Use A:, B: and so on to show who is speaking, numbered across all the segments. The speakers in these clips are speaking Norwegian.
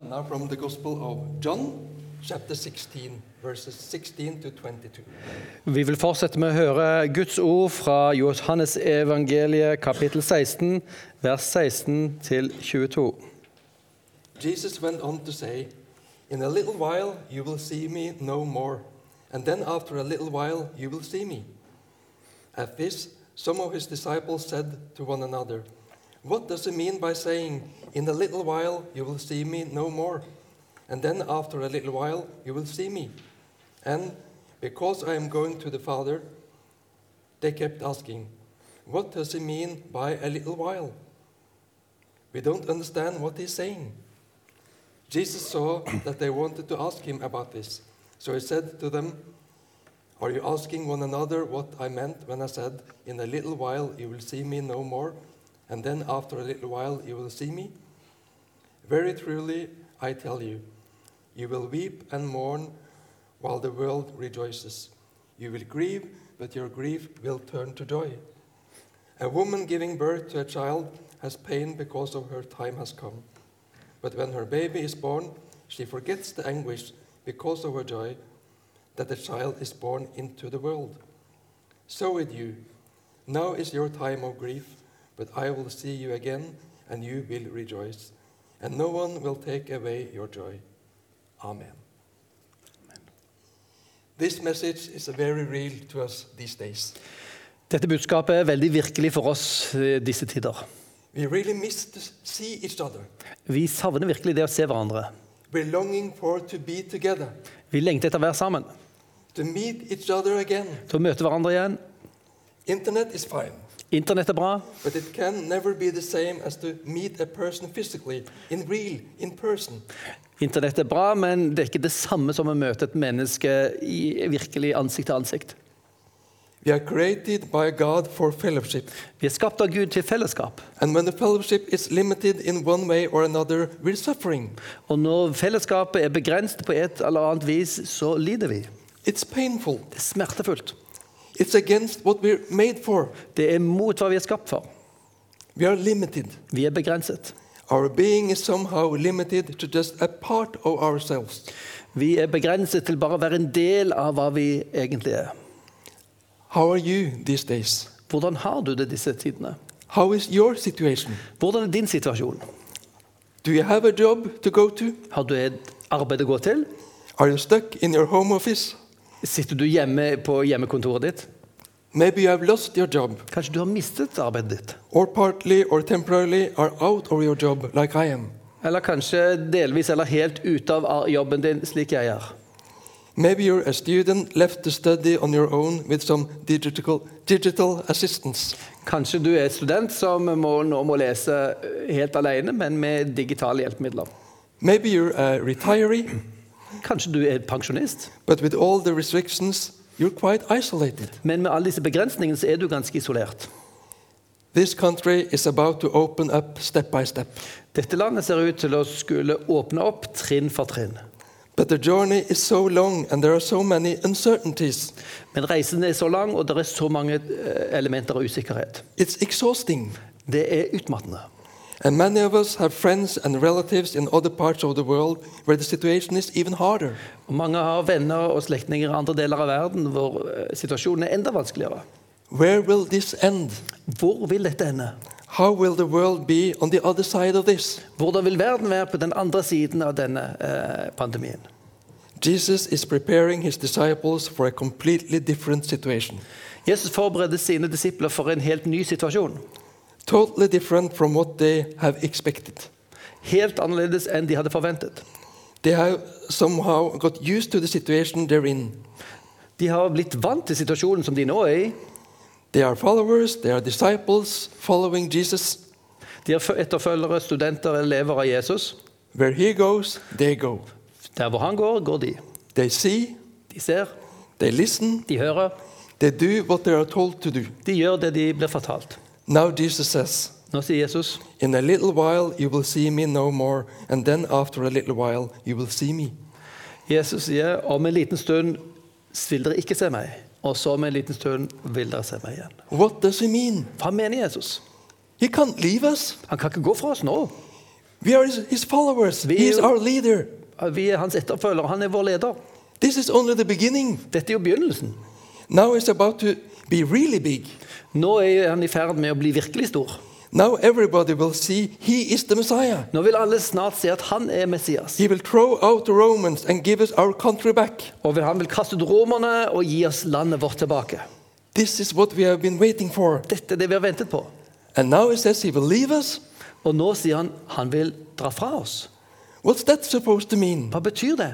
A: now from the Gospel of John, chapter 16, verses 16 to 22.
B: Vi vil fortsette med å høre Guds ord fra Johannes evangeliet kapittel 16, vers 16 til 22.
A: Jesus went on to say, In a little while you will see me no more, and then after a little while you will see me. At this, some of his disciples said to one another, What does he mean by saying, In a little while you will see me no more, and then after a little while you will see me? And because I am going to the Father, they kept asking, What does he mean by a little while? We don't understand what he's saying. Jesus saw that they wanted to ask him about this, so he said to them, Are you asking one another what I meant when I said, In a little while you will see me no more, and then after a little while you will see me? Very truly, I tell you, you will weep and mourn while the world rejoices. You will grieve, but your grief will turn to joy. A woman giving birth to a child has pain because of her time has come. But when her baby is born, she forgets the anguish because of her joy that the child is born into the world. So with you. Now is your time of grief, but I will see you again, and you will rejoice, and no one will take away your joy. Amen. This message is very real to us these days.
B: Dette budskapet er veldig virkelig for oss eh, disse tider.
A: We really miss to see each other.
B: Vi savner virkelig det å se hverandre.
A: We're longing for to be together,
B: Vi lengter etter å være sammen,
A: to meet each other again.
B: til å møte hverandre igjen.
A: Internet is fine,
B: Internett er bra,
A: but it can never be the same as to meet a person physically, in real, in person.
B: Internett er bra, men det er ikke det samme som å møte et menneske i, virkelig ansikt til ansikt.
A: We are created by God for fellowship,
B: Vi er skapt av Gud til fellesskap,
A: and when the fellowship is limited in one way or another, we're suffering.
B: og når fellesskapet er begrenset på et eller annet vis, så lider vi.
A: It's painful.
B: Det er smertefullt.
A: It's against what we're made for.
B: Det er mot hva vi er skapt for.
A: We are limited.
B: Vi er begrenset.
A: Our being is somehow limited to just a part of ourselves.
B: Vi er begrenset til bare å være en del av hva vi egentlig er.
A: How are you these days?
B: Hvordan har du det disse tidene?
A: How is your situation?
B: Hvordan er din situasjon?
A: Do you have a job to go to?
B: Har du et arbeid å gå til?
A: Are you stuck in your home office?
B: Sitter du hjemme på hjemmekontoret ditt?
A: Maybe you have lost your job,
B: Kanskje du har mistet arbeidet ditt?
A: or partly or temporarily are out of your job, like I am.
B: Eller kanskje delvis eller helt ute av ar- jobben din, slik jeg er.
A: Maybe you're a student left to study on your own with some digital, digital assistance.
B: Kanskje du er student som må, nå må lese eh, helt alene, men med digitale hjelpemidler.
A: Maybe you're a retiree,
B: Kanskje du er pensjonist,
A: but with all the restrictions, you're quite isolated.
B: men med alle disse begrensningene så er du ganske isolert.
A: This country is about to open up step by step,
B: Dette landet ser ut til å skulle åpne opp trinn for trinn.
A: but the journey is so long and there are so many uncertainties.
B: Men reisen er så lang, og det er så mange eh, elementer av usikkerhet.
A: It's exhausting.
B: Det er utmattende.
A: And many of us have friends and relatives in other parts of the world where the situation is even harder.
B: Og mange har venner og slektninger i andre deler av verden hvor eh, situasjonen er enda vanskeligere.
A: Where will this end?
B: Hvor vil dette ende?
A: How will the world be on the other side of this?
B: Hvordan vil verden være på den andre siden av denne eh, pandemien?
A: Jesus is preparing his disciples for a completely different situation,
B: Jesus forbereder sine disipler for en helt ny situasjon.
A: totally different from what they have expected.
B: Helt annerledes enn de hadde forventet.
A: They have somehow got used to the situation they're in.
B: De har blitt vant til situasjonen som de nå er i.
A: They are followers, they are disciples following Jesus.
B: De er etterfølgere, studenter, elever av Jesus.
A: Where he goes, they go.
B: Der hvor han går, går de.
A: They see,
B: De ser,
A: they listen,
B: de hører,
A: they do what they are told to do.
B: de gjør det de blir fortalt.
A: Now Jesus says,
B: Nå sier Jesus,
A: In a little while you will see me no more, and then after a little while you will see me.
B: Jesus sier, om en liten stund vil dere ikke se meg, og så om en liten stund vil dere se meg igjen.
A: What does he mean?
B: Hva mener Jesus?
A: He can't leave us.
B: Han kan ikke gå fra oss nå.
A: We are his, his followers.
B: We-
A: He is our leader.
B: Vi er hans etterfølger. Han er vår leder.
A: This is only the beginning.
B: Dette er jo begynnelsen.
A: Now it's about to be really big.
B: Nå er han i ferd med å bli virkelig stor.
A: Now everybody will see he is the Messiah.
B: Nå vil alle snart se at han er Messias.
A: He will throw out the Romans and give us our country back.
B: Og vil- han vil kaste ut romerne og gi oss landet vårt tilbake.
A: This is what we have been waiting for.
B: Dette er det vi har ventet på.
A: And now it says he will leave us.
B: Og nå sier han han vil dra fra oss.
A: What's that supposed to mean?
B: Hva betyr det?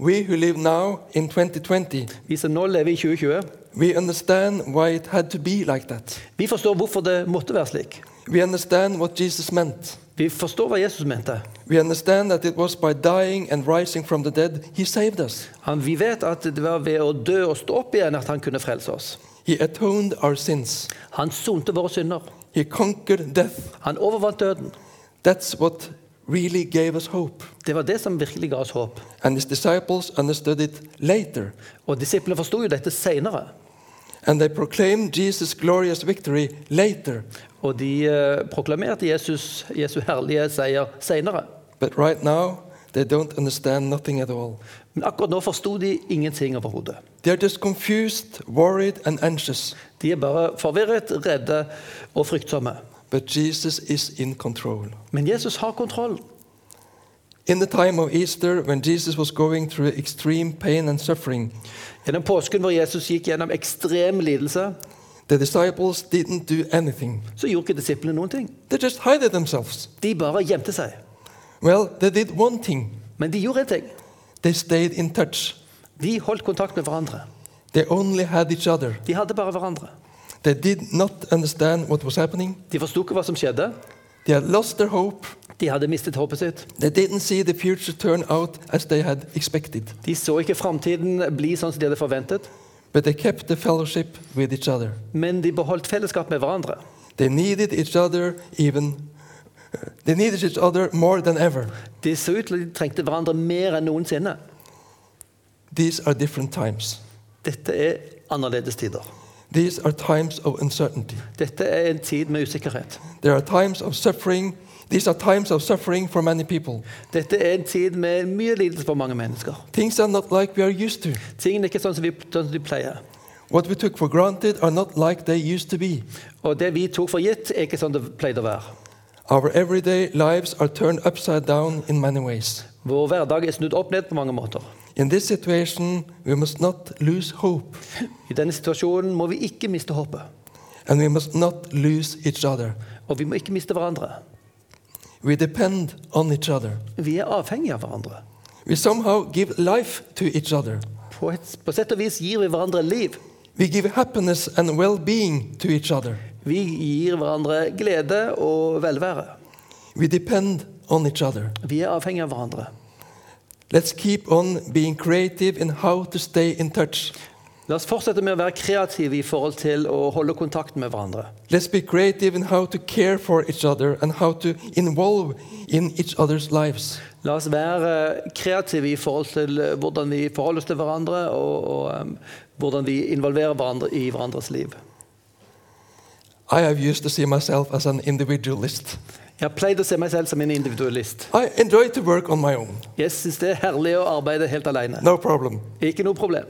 A: We who live now in 2020,
B: Vi som nå lever i 2020,
A: we understand why it had to be like that.
B: vi forstår hvorfor det måtte være slik.
A: We understand what Jesus meant.
B: Vi forstår hva Jesus mente.
A: We understand that it was by dying and rising from the dead he saved us.
B: Han, vi vet at det var ved å dø og stå opp igjen at han kunne frelse oss.
A: He atoned our sins.
B: Han sonte våre synder.
A: He conquered death.
B: Han overvant døden.
A: That's what really gave us hope.
B: Det var det som virkelig ga oss håp.
A: And his disciples understood it later.
B: Og disiplene forsto jo dette seinere.
A: And they proclaimed Jesus' glorious victory later.
B: Og de eh, proklamerte Jesus, Jesu herlige seier seinere.
A: But right now, they don't understand nothing at all.
B: Men akkurat nå forsto de ingenting overhodet.
A: They're just confused, worried, and anxious.
B: De er bare forvirret, redde og fryktsomme.
A: But Jesus is in control.
B: Men Jesus har kontroll.
A: In the time of Easter, when Jesus was going through extreme pain and suffering,
B: Gjennom påsken hvor Jesus gikk gjennom ekstrem lidelse,
A: the disciples didn't do anything.
B: så gjorde ikke disiplene noen ting.
A: They just hided themselves.
B: De bare gjemte seg.
A: Well, they did one thing
B: Men de gjorde en ting.
A: they stayed in touch.
B: De holdt kontakt med hverandre.
A: They only had each other.
B: De hadde bare hverandre.
A: They did not understand what was happening.
B: De forsto ikke hva som skjedde.
A: They had lost their hope.
B: De hadde mistet håpet sitt.
A: They didn't see the future turn out as they had expected.
B: De så ikke framtiden bli sånn som de hadde forventet,
A: But they kept the fellowship with each other.
B: men de beholdt fellesskap med hverandre.
A: They needed each other even uh, they needed each other more than ever.
B: De så ut til at de trengte hverandre mer enn noensinne.
A: These are different times.
B: Dette er annerledes tider.
A: These are times of uncertainty.
B: Dette er en tid med usikkerhet.
A: There are times of suffering. These are times of suffering for many people.
B: Dette er en tid med mye lidelse for mange mennesker.
A: Things are not like we are used to.
B: Tingene er ikke sånn som, vi, sånn som de pleier.
A: What we took for granted are not like they used to be.
B: Og det vi tok for gitt, er ikke sånn det pleide å være.
A: Our everyday lives are turned upside down in many ways.
B: Vår hverdag er snudd opp ned på mange måter.
A: In this situation, we must not lose hope,
B: I denne situasjonen må vi ikke miste håpet.
A: and we must not lose each other.
B: Og vi må ikke miste hverandre.
A: We depend on each other.
B: Vi er avhengige av hverandre.
A: We somehow give life to each other.
B: På, et, på sett og vis gir vi hverandre liv.
A: We give happiness and well being to each other.
B: Vi gir hverandre glede og velvære.
A: We depend on each other.
B: Vi er avhengige av hverandre.
A: Let's keep on being creative in how to stay in touch.
B: La oss fortsette med å være kreative i forhold til å holde kontakten med hverandre.
A: Let's be creative in how to care for each other and how to involve in each other's lives.
B: La oss være eh, kreative i forhold til eh, hvordan vi forholder oss til hverandre, og, og em, hvordan vi involverer hverandre i hverandres liv.
A: I have used to see myself as an individualist.
B: Jeg har pleid å se meg selv som en individualist.
A: I enjoy to work on my own,
B: Jeg syns det er herlig å arbeide helt alene.
A: no problem.
B: Ikke noe problem.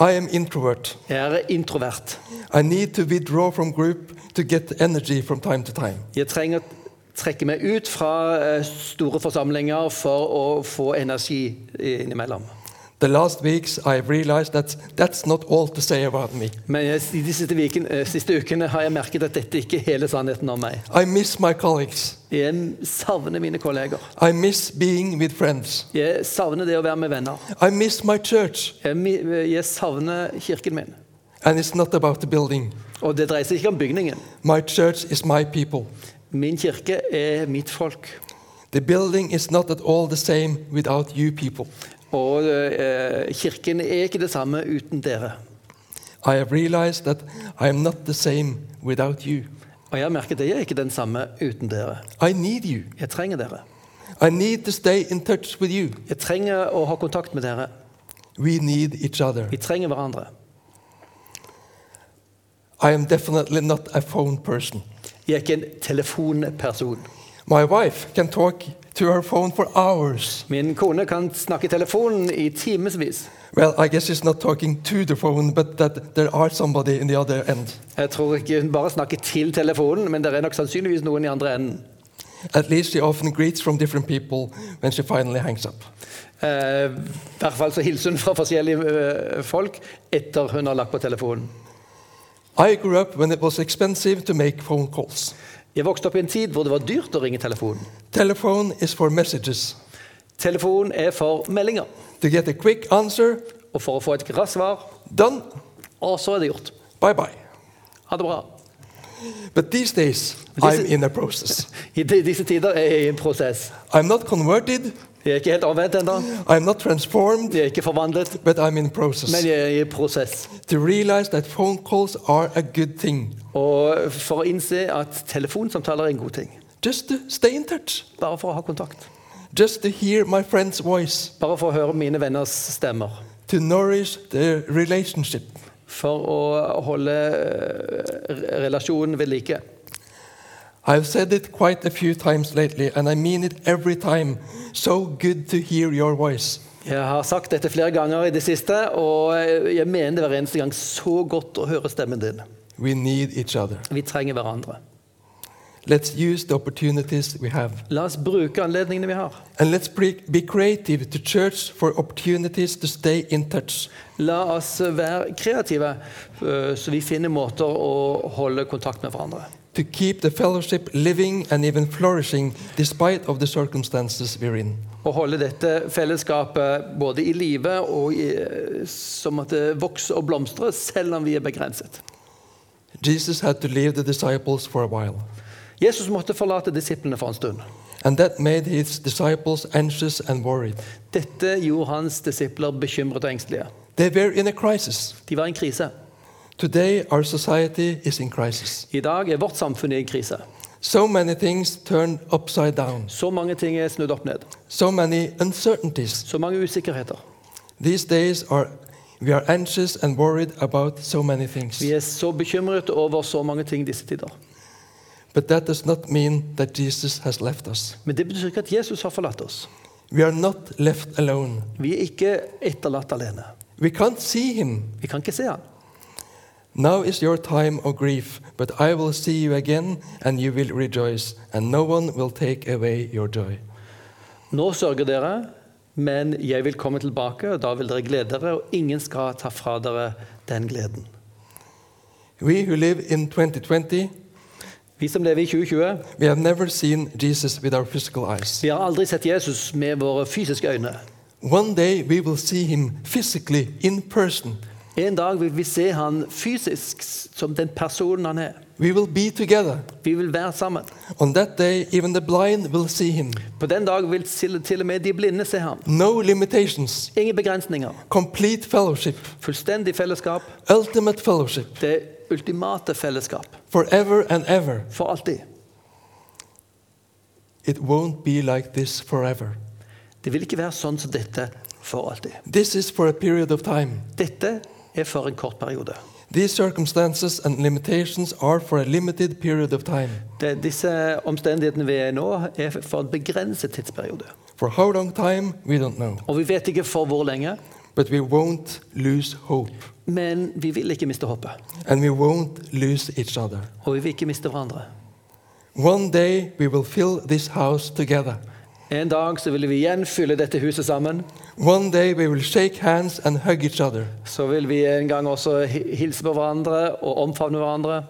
A: I am introvert.
B: Jeg er introvert.
A: I need to withdraw from group to get energy from time to time.
B: Jeg trenger å trekke meg ut fra eh, store forsamlinger for å få energi eh, innimellom.
A: The last weeks I have realized that that's not all to say about me.
B: Men jeg, i de siste, viken, eh, siste ukene har jeg merket at dette ikke er hele sannheten om meg.
A: I miss my colleagues.
B: Jeg savner mine kolleger.
A: I miss being with friends.
B: Jeg savner det å være med venner.
A: I miss my church.
B: Jeg, mi- eh, jeg savner kirken min.
A: And it's not about the building.
B: Og det dreier seg ikke om bygningen.
A: My church is my people.
B: Min kirke er mitt folk.
A: The building is not at all the same without you people.
B: Og eh, kirken er ikke det samme uten dere.
A: I have realized that I am not the same without you.
B: Og jeg har merket at jeg er ikke den samme uten dere.
A: I need you.
B: Jeg trenger dere.
A: I need to stay in touch with you.
B: Jeg trenger å ha kontakt med dere.
A: We need each other.
B: Vi trenger hverandre.
A: I am definitely not a phone person.
B: Jeg er ikke en telefonperson.
A: My wife can talk to her phone for hours.
B: Min kone kan snakke i telefonen i timevis.
A: Well, I guess she's not talking to the phone, but that there are somebody in the other end.
B: Jeg tror ikke hun bare snakker til telefonen, men det er nok sannsynligvis noen i andre enden.
A: At least she often greets from different people when she finally hangs up.
B: Eh, I hvert fall så hilser hun fra forskjellige eh, folk etter hun har lagt på telefonen.
A: I grew up when it was expensive to make phone calls.
B: Jeg vokste opp i en tid hvor det var dyrt å ringe telefonen.
A: Telephone is for messages.
B: Telefon er for meldinger.
A: To get a quick answer,
B: Og for å få et raskt svar,
A: done,
B: og så er det gjort.
A: bye bye.
B: Ha det bra.
A: But these days,
B: This
A: I'm
B: is-
A: in a process.
B: I de- disse tider er jeg i en prosess.
A: I'm not converted,
B: Jeg er ikke helt omvendt ennå.
A: I'm not transformed,
B: Jeg er ikke forvandlet,
A: but I'm in process.
B: men jeg er i prosess.
A: To realize that phone calls are a good thing.
B: Og for å innse at telefonsamtaler er en god ting.
A: Just to stay in touch,
B: Bare for å ha kontakt.
A: just to hear my friend's voice,
B: Bare for å høre mine venners stemmer.
A: to nourish the relationship.
B: For å holde eh, re- relasjonen ved like.
A: I've said it quite a few times lately, and I mean it every time. So good to hear your voice.
B: Jeg har sagt dette flere ganger i det siste, og jeg mener det hver eneste gang så godt å høre stemmen din.
A: We need each other.
B: Vi trenger hverandre.
A: Let's use the opportunities we have.
B: La oss bruke anledningene vi har.
A: And let's pre- be creative to church for opportunities to stay in touch.
B: La oss være kreative, eh, så vi finner måter å holde kontakt med hverandre.
A: To keep the fellowship living and even flourishing despite of the circumstances we're in.
B: Å holde dette fellesskapet både i live og i, eh, som at det vokser og blomstrer, selv om vi er begrenset.
A: Jesus had to leave the disciples for a while,
B: Jesus måtte forlate disiplene for en stund.
A: and that made his disciples anxious and worried.
B: Dette gjorde hans disipler bekymret og engstelige.
A: They were in a crisis.
B: De var i en krise.
A: Today, our society is in crisis.
B: I dag er vårt samfunn i en krise.
A: So many things turned upside down,
B: Så mange ting er snudd opp ned.
A: so many uncertainties.
B: Så mange usikkerheter.
A: These days, are, we are anxious and worried about so many things.
B: Vi er så bekymret over så mange ting disse tider.
A: But that does not mean that Jesus has left us.
B: Men det betyr ikke at Jesus har forlatt oss.
A: We are not left alone.
B: Vi er ikke etterlatt alene.
A: We can't see him.
B: Vi kan ikke se han.
A: Now is your time of grief, but I will see you again, and you will rejoice, and no one will take away your joy.
B: Nå sørger dere, men jeg vil komme tilbake, og da vil dere glede dere, og ingen skal ta fra dere den gleden.
A: We who live in 2020,
B: Vi som lever i 2020,
A: we have never seen Jesus with our physical eyes.
B: vi har aldri sett Jesus med våre fysiske øyne.
A: One day we will see him physically, in person.
B: En dag vil vi se han fysisk som den personen han er.
A: We will be together.
B: Vi vil være sammen.
A: On that day, even the blind will see him.
B: På den dag vil til til og med de blinde se ham.
A: No limitations,
B: Ingen begrensninger.
A: complete fellowship,
B: Fullstendig fellesskap.
A: ultimate fellowship.
B: Det ultimate fellesskap.
A: forever and ever.
B: For alltid.
A: It won't be like this forever.
B: Det vil ikke være sånn som dette for alltid.
A: This is for a period of time.
B: Dette er for en kort periode.
A: These circumstances and limitations are for a limited period of time.
B: Det, disse omstendighetene vi er i nå, er for en begrenset tidsperiode.
A: For how long time, we don't know.
B: Og vi vet ikke for hvor lenge,
A: But we won't lose hope.
B: men vi vil ikke miste håpet.
A: And we won't lose each other.
B: Og vi vil ikke miste hverandre.
A: One day we will fill this house together.
B: En dag så vil vi igjen fylle dette huset sammen.
A: One day we will shake hands and hug each other.
B: Så vil vi en gang også hi- hilse på hverandre og omfavne hverandre.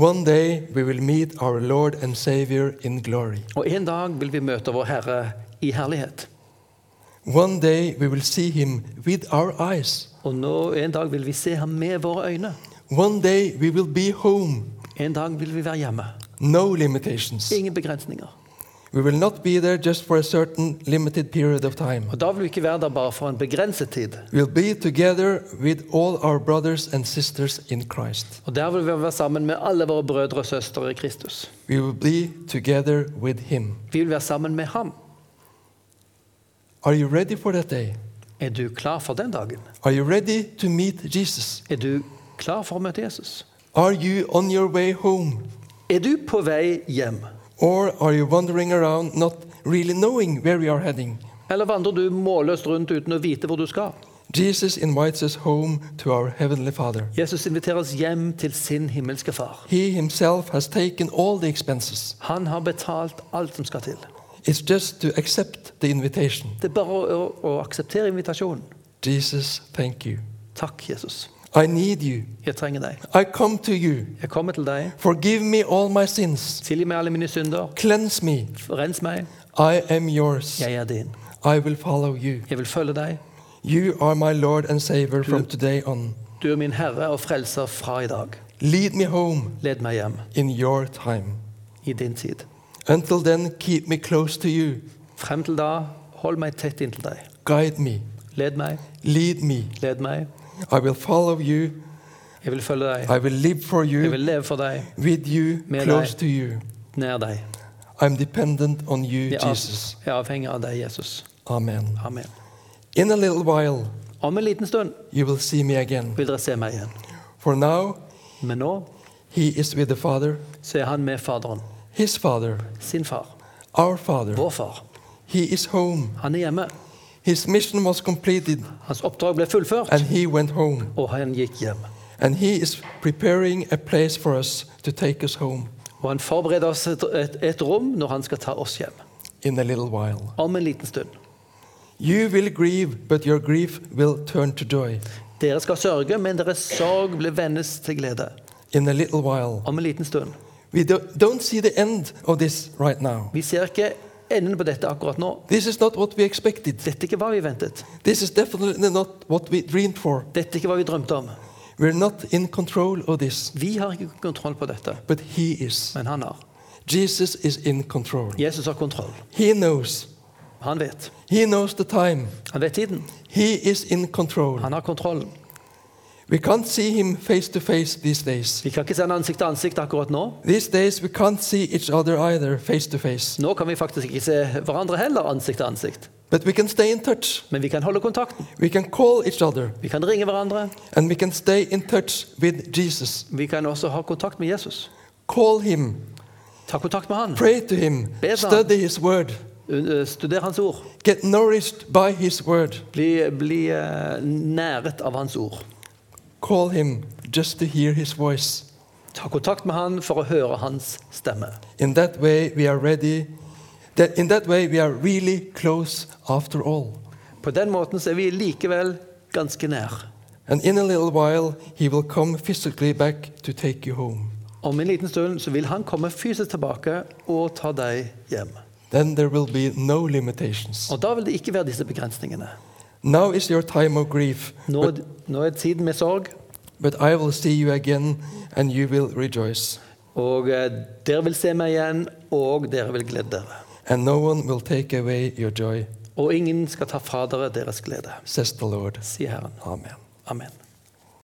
A: One day we will meet our Lord and Savior in glory.
B: Og en dag vil vi møte vår Herre i herlighet.
A: One day we will see Him with our eyes.
B: Og nå, en dag vil vi se ham med våre øyne.
A: One day we will be home,
B: En dag vil vi være hjemme.
A: no limitations.
B: Ingen begrensninger.
A: We will not be there just for a certain limited period of time.
B: Og da vil vi ikke være der bare for en begrenset tid.
A: We'll be together with all our brothers and sisters in Christ.
B: Og der vil vi være sammen med alle våre brødre og søstre i Kristus.
A: We will be together with Him.
B: Vi vil være sammen med ham.
A: Are you ready for that day?
B: Er du klar for den dagen?
A: Are you ready to meet Jesus?
B: Er du klar for å møte Jesus?
A: Are you on your way home?
B: Er du på vei hjem?
A: Or are you wandering around not really knowing where we are heading?
B: Eller vandrer du målløst rundt uten å vite hvor du skal?
A: Jesus invites us home to our Heavenly Father.
B: Jesus inviterer oss hjem til sin himmelske far.
A: He himself has taken all the expenses.
B: Han har betalt alt som skal til.
A: It's just to accept the invitation.
B: Det er bare å, å akseptere invitasjonen.
A: Jesus, thank you.
B: Takk, Jesus.
A: I need you.
B: Jeg trenger deg.
A: I come to you.
B: Jeg kommer til deg.
A: Forgive me all my sins.
B: Tilgi meg alle mine synder.
A: Cleanse me.
B: Rens meg.
A: I am yours.
B: Jeg er din.
A: I will follow you.
B: Jeg vil følge deg.
A: You are my Lord and Savior from today on.
B: Du er min herre og frelser fra i dag.
A: Lead me home
B: Led meg hjem
A: in your time.
B: i din tid.
A: Until then, keep me close to you.
B: Frem til da, hold meg tett inntil deg.
A: Guide me.
B: Led meg,
A: Lead me.
B: led meg.
A: I will follow you.
B: Jeg vil følge deg.
A: I will live for
B: Jeg
A: you.
B: vil leve for deg,
A: With you,
B: Med
A: close
B: deg.
A: to you.
B: nær deg.
A: I'm dependent on you,
B: Jeg er av-
A: Jesus.
B: jeg er avhengig av deg, Jesus.
A: Amen.
B: Amen.
A: In a little while,
B: Om en liten stund
A: you will see me again.
B: vil dere se meg igjen.
A: For now,
B: Men nå
A: he is with the Father,
B: så er han med Faderen,
A: his Father,
B: sin far,
A: our Father.
B: vår far.
A: He is home.
B: Han er hjemme.
A: His mission was completed,
B: Hans oppdrag ble fullført,
A: and he went home.
B: og han gikk hjem.
A: And he is preparing a place for us to take us home
B: Og han forbereder oss et, et, et rom når han skal ta oss hjem.
A: in a little while.
B: Om en liten stund.
A: You will grieve, but your grief will turn to joy.
B: Dere skal sørge, men deres sorg blir vendes til glede.
A: In a little while.
B: Om en liten stund.
A: We do- don't see the end of this right now.
B: Vi ser ikke enden på dette akkurat nå.
A: This is not what we expected.
B: Dette er ikke hva vi ventet.
A: This is definitely not what we dreamed for.
B: Dette er ikke hva vi drømte om.
A: We're not in control of this,
B: Vi har ikke kontroll på dette,
A: but He is.
B: men han har.
A: Jesus is in control.
B: Jesus har kontroll.
A: He knows.
B: Han vet.
A: He knows the time.
B: Han vet tiden.
A: He is in control.
B: Han har kontrollen.
A: We can't see Him face to face these days.
B: Vi kan ikke sende ansikt til ansikt akkurat nå.
A: These days, we can't see each other either face to face,
B: Nå kan vi faktisk ikke se hverandre heller ansikt til ansikt.
A: but we can stay in touch.
B: Men vi kan holde kontakten.
A: We can call each other,
B: Vi kan ringe hverandre.
A: and we can stay in touch with Jesus.
B: Vi kan også ha kontakt med Jesus.
A: Call Him,
B: Ta kontakt med han.
A: pray to Him,
B: Be sammen.
A: study His Word,
B: Un- eh, Studer hans ord.
A: get nourished by His Word.
B: Bli, bli eh, næret av hans ord.
A: Call him just to hear his voice.
B: Ta kontakt med han for å høre hans stemme.
A: In that way we are ready. That in that way we are really close after all.
B: På den måten så er vi likevel ganske nær.
A: And in a little while he will come physically back to take you home.
B: Om en liten stund så vil han komme fysisk tilbake og ta deg hjem.
A: Then there will be no limitations.
B: Og da vil det ikke være disse begrensningene.
A: Now is your time of grief,
B: Nå,
A: but,
B: nå er tiden med sorg,
A: but I will see you again and you will rejoice.
B: og eh, dere vil se meg igjen, og dere vil glede dere.
A: And no one will take away your joy,
B: Og ingen skal ta fra dere deres glede,
A: says the Lord.
B: sier Herren.
A: Amen.
B: Amen.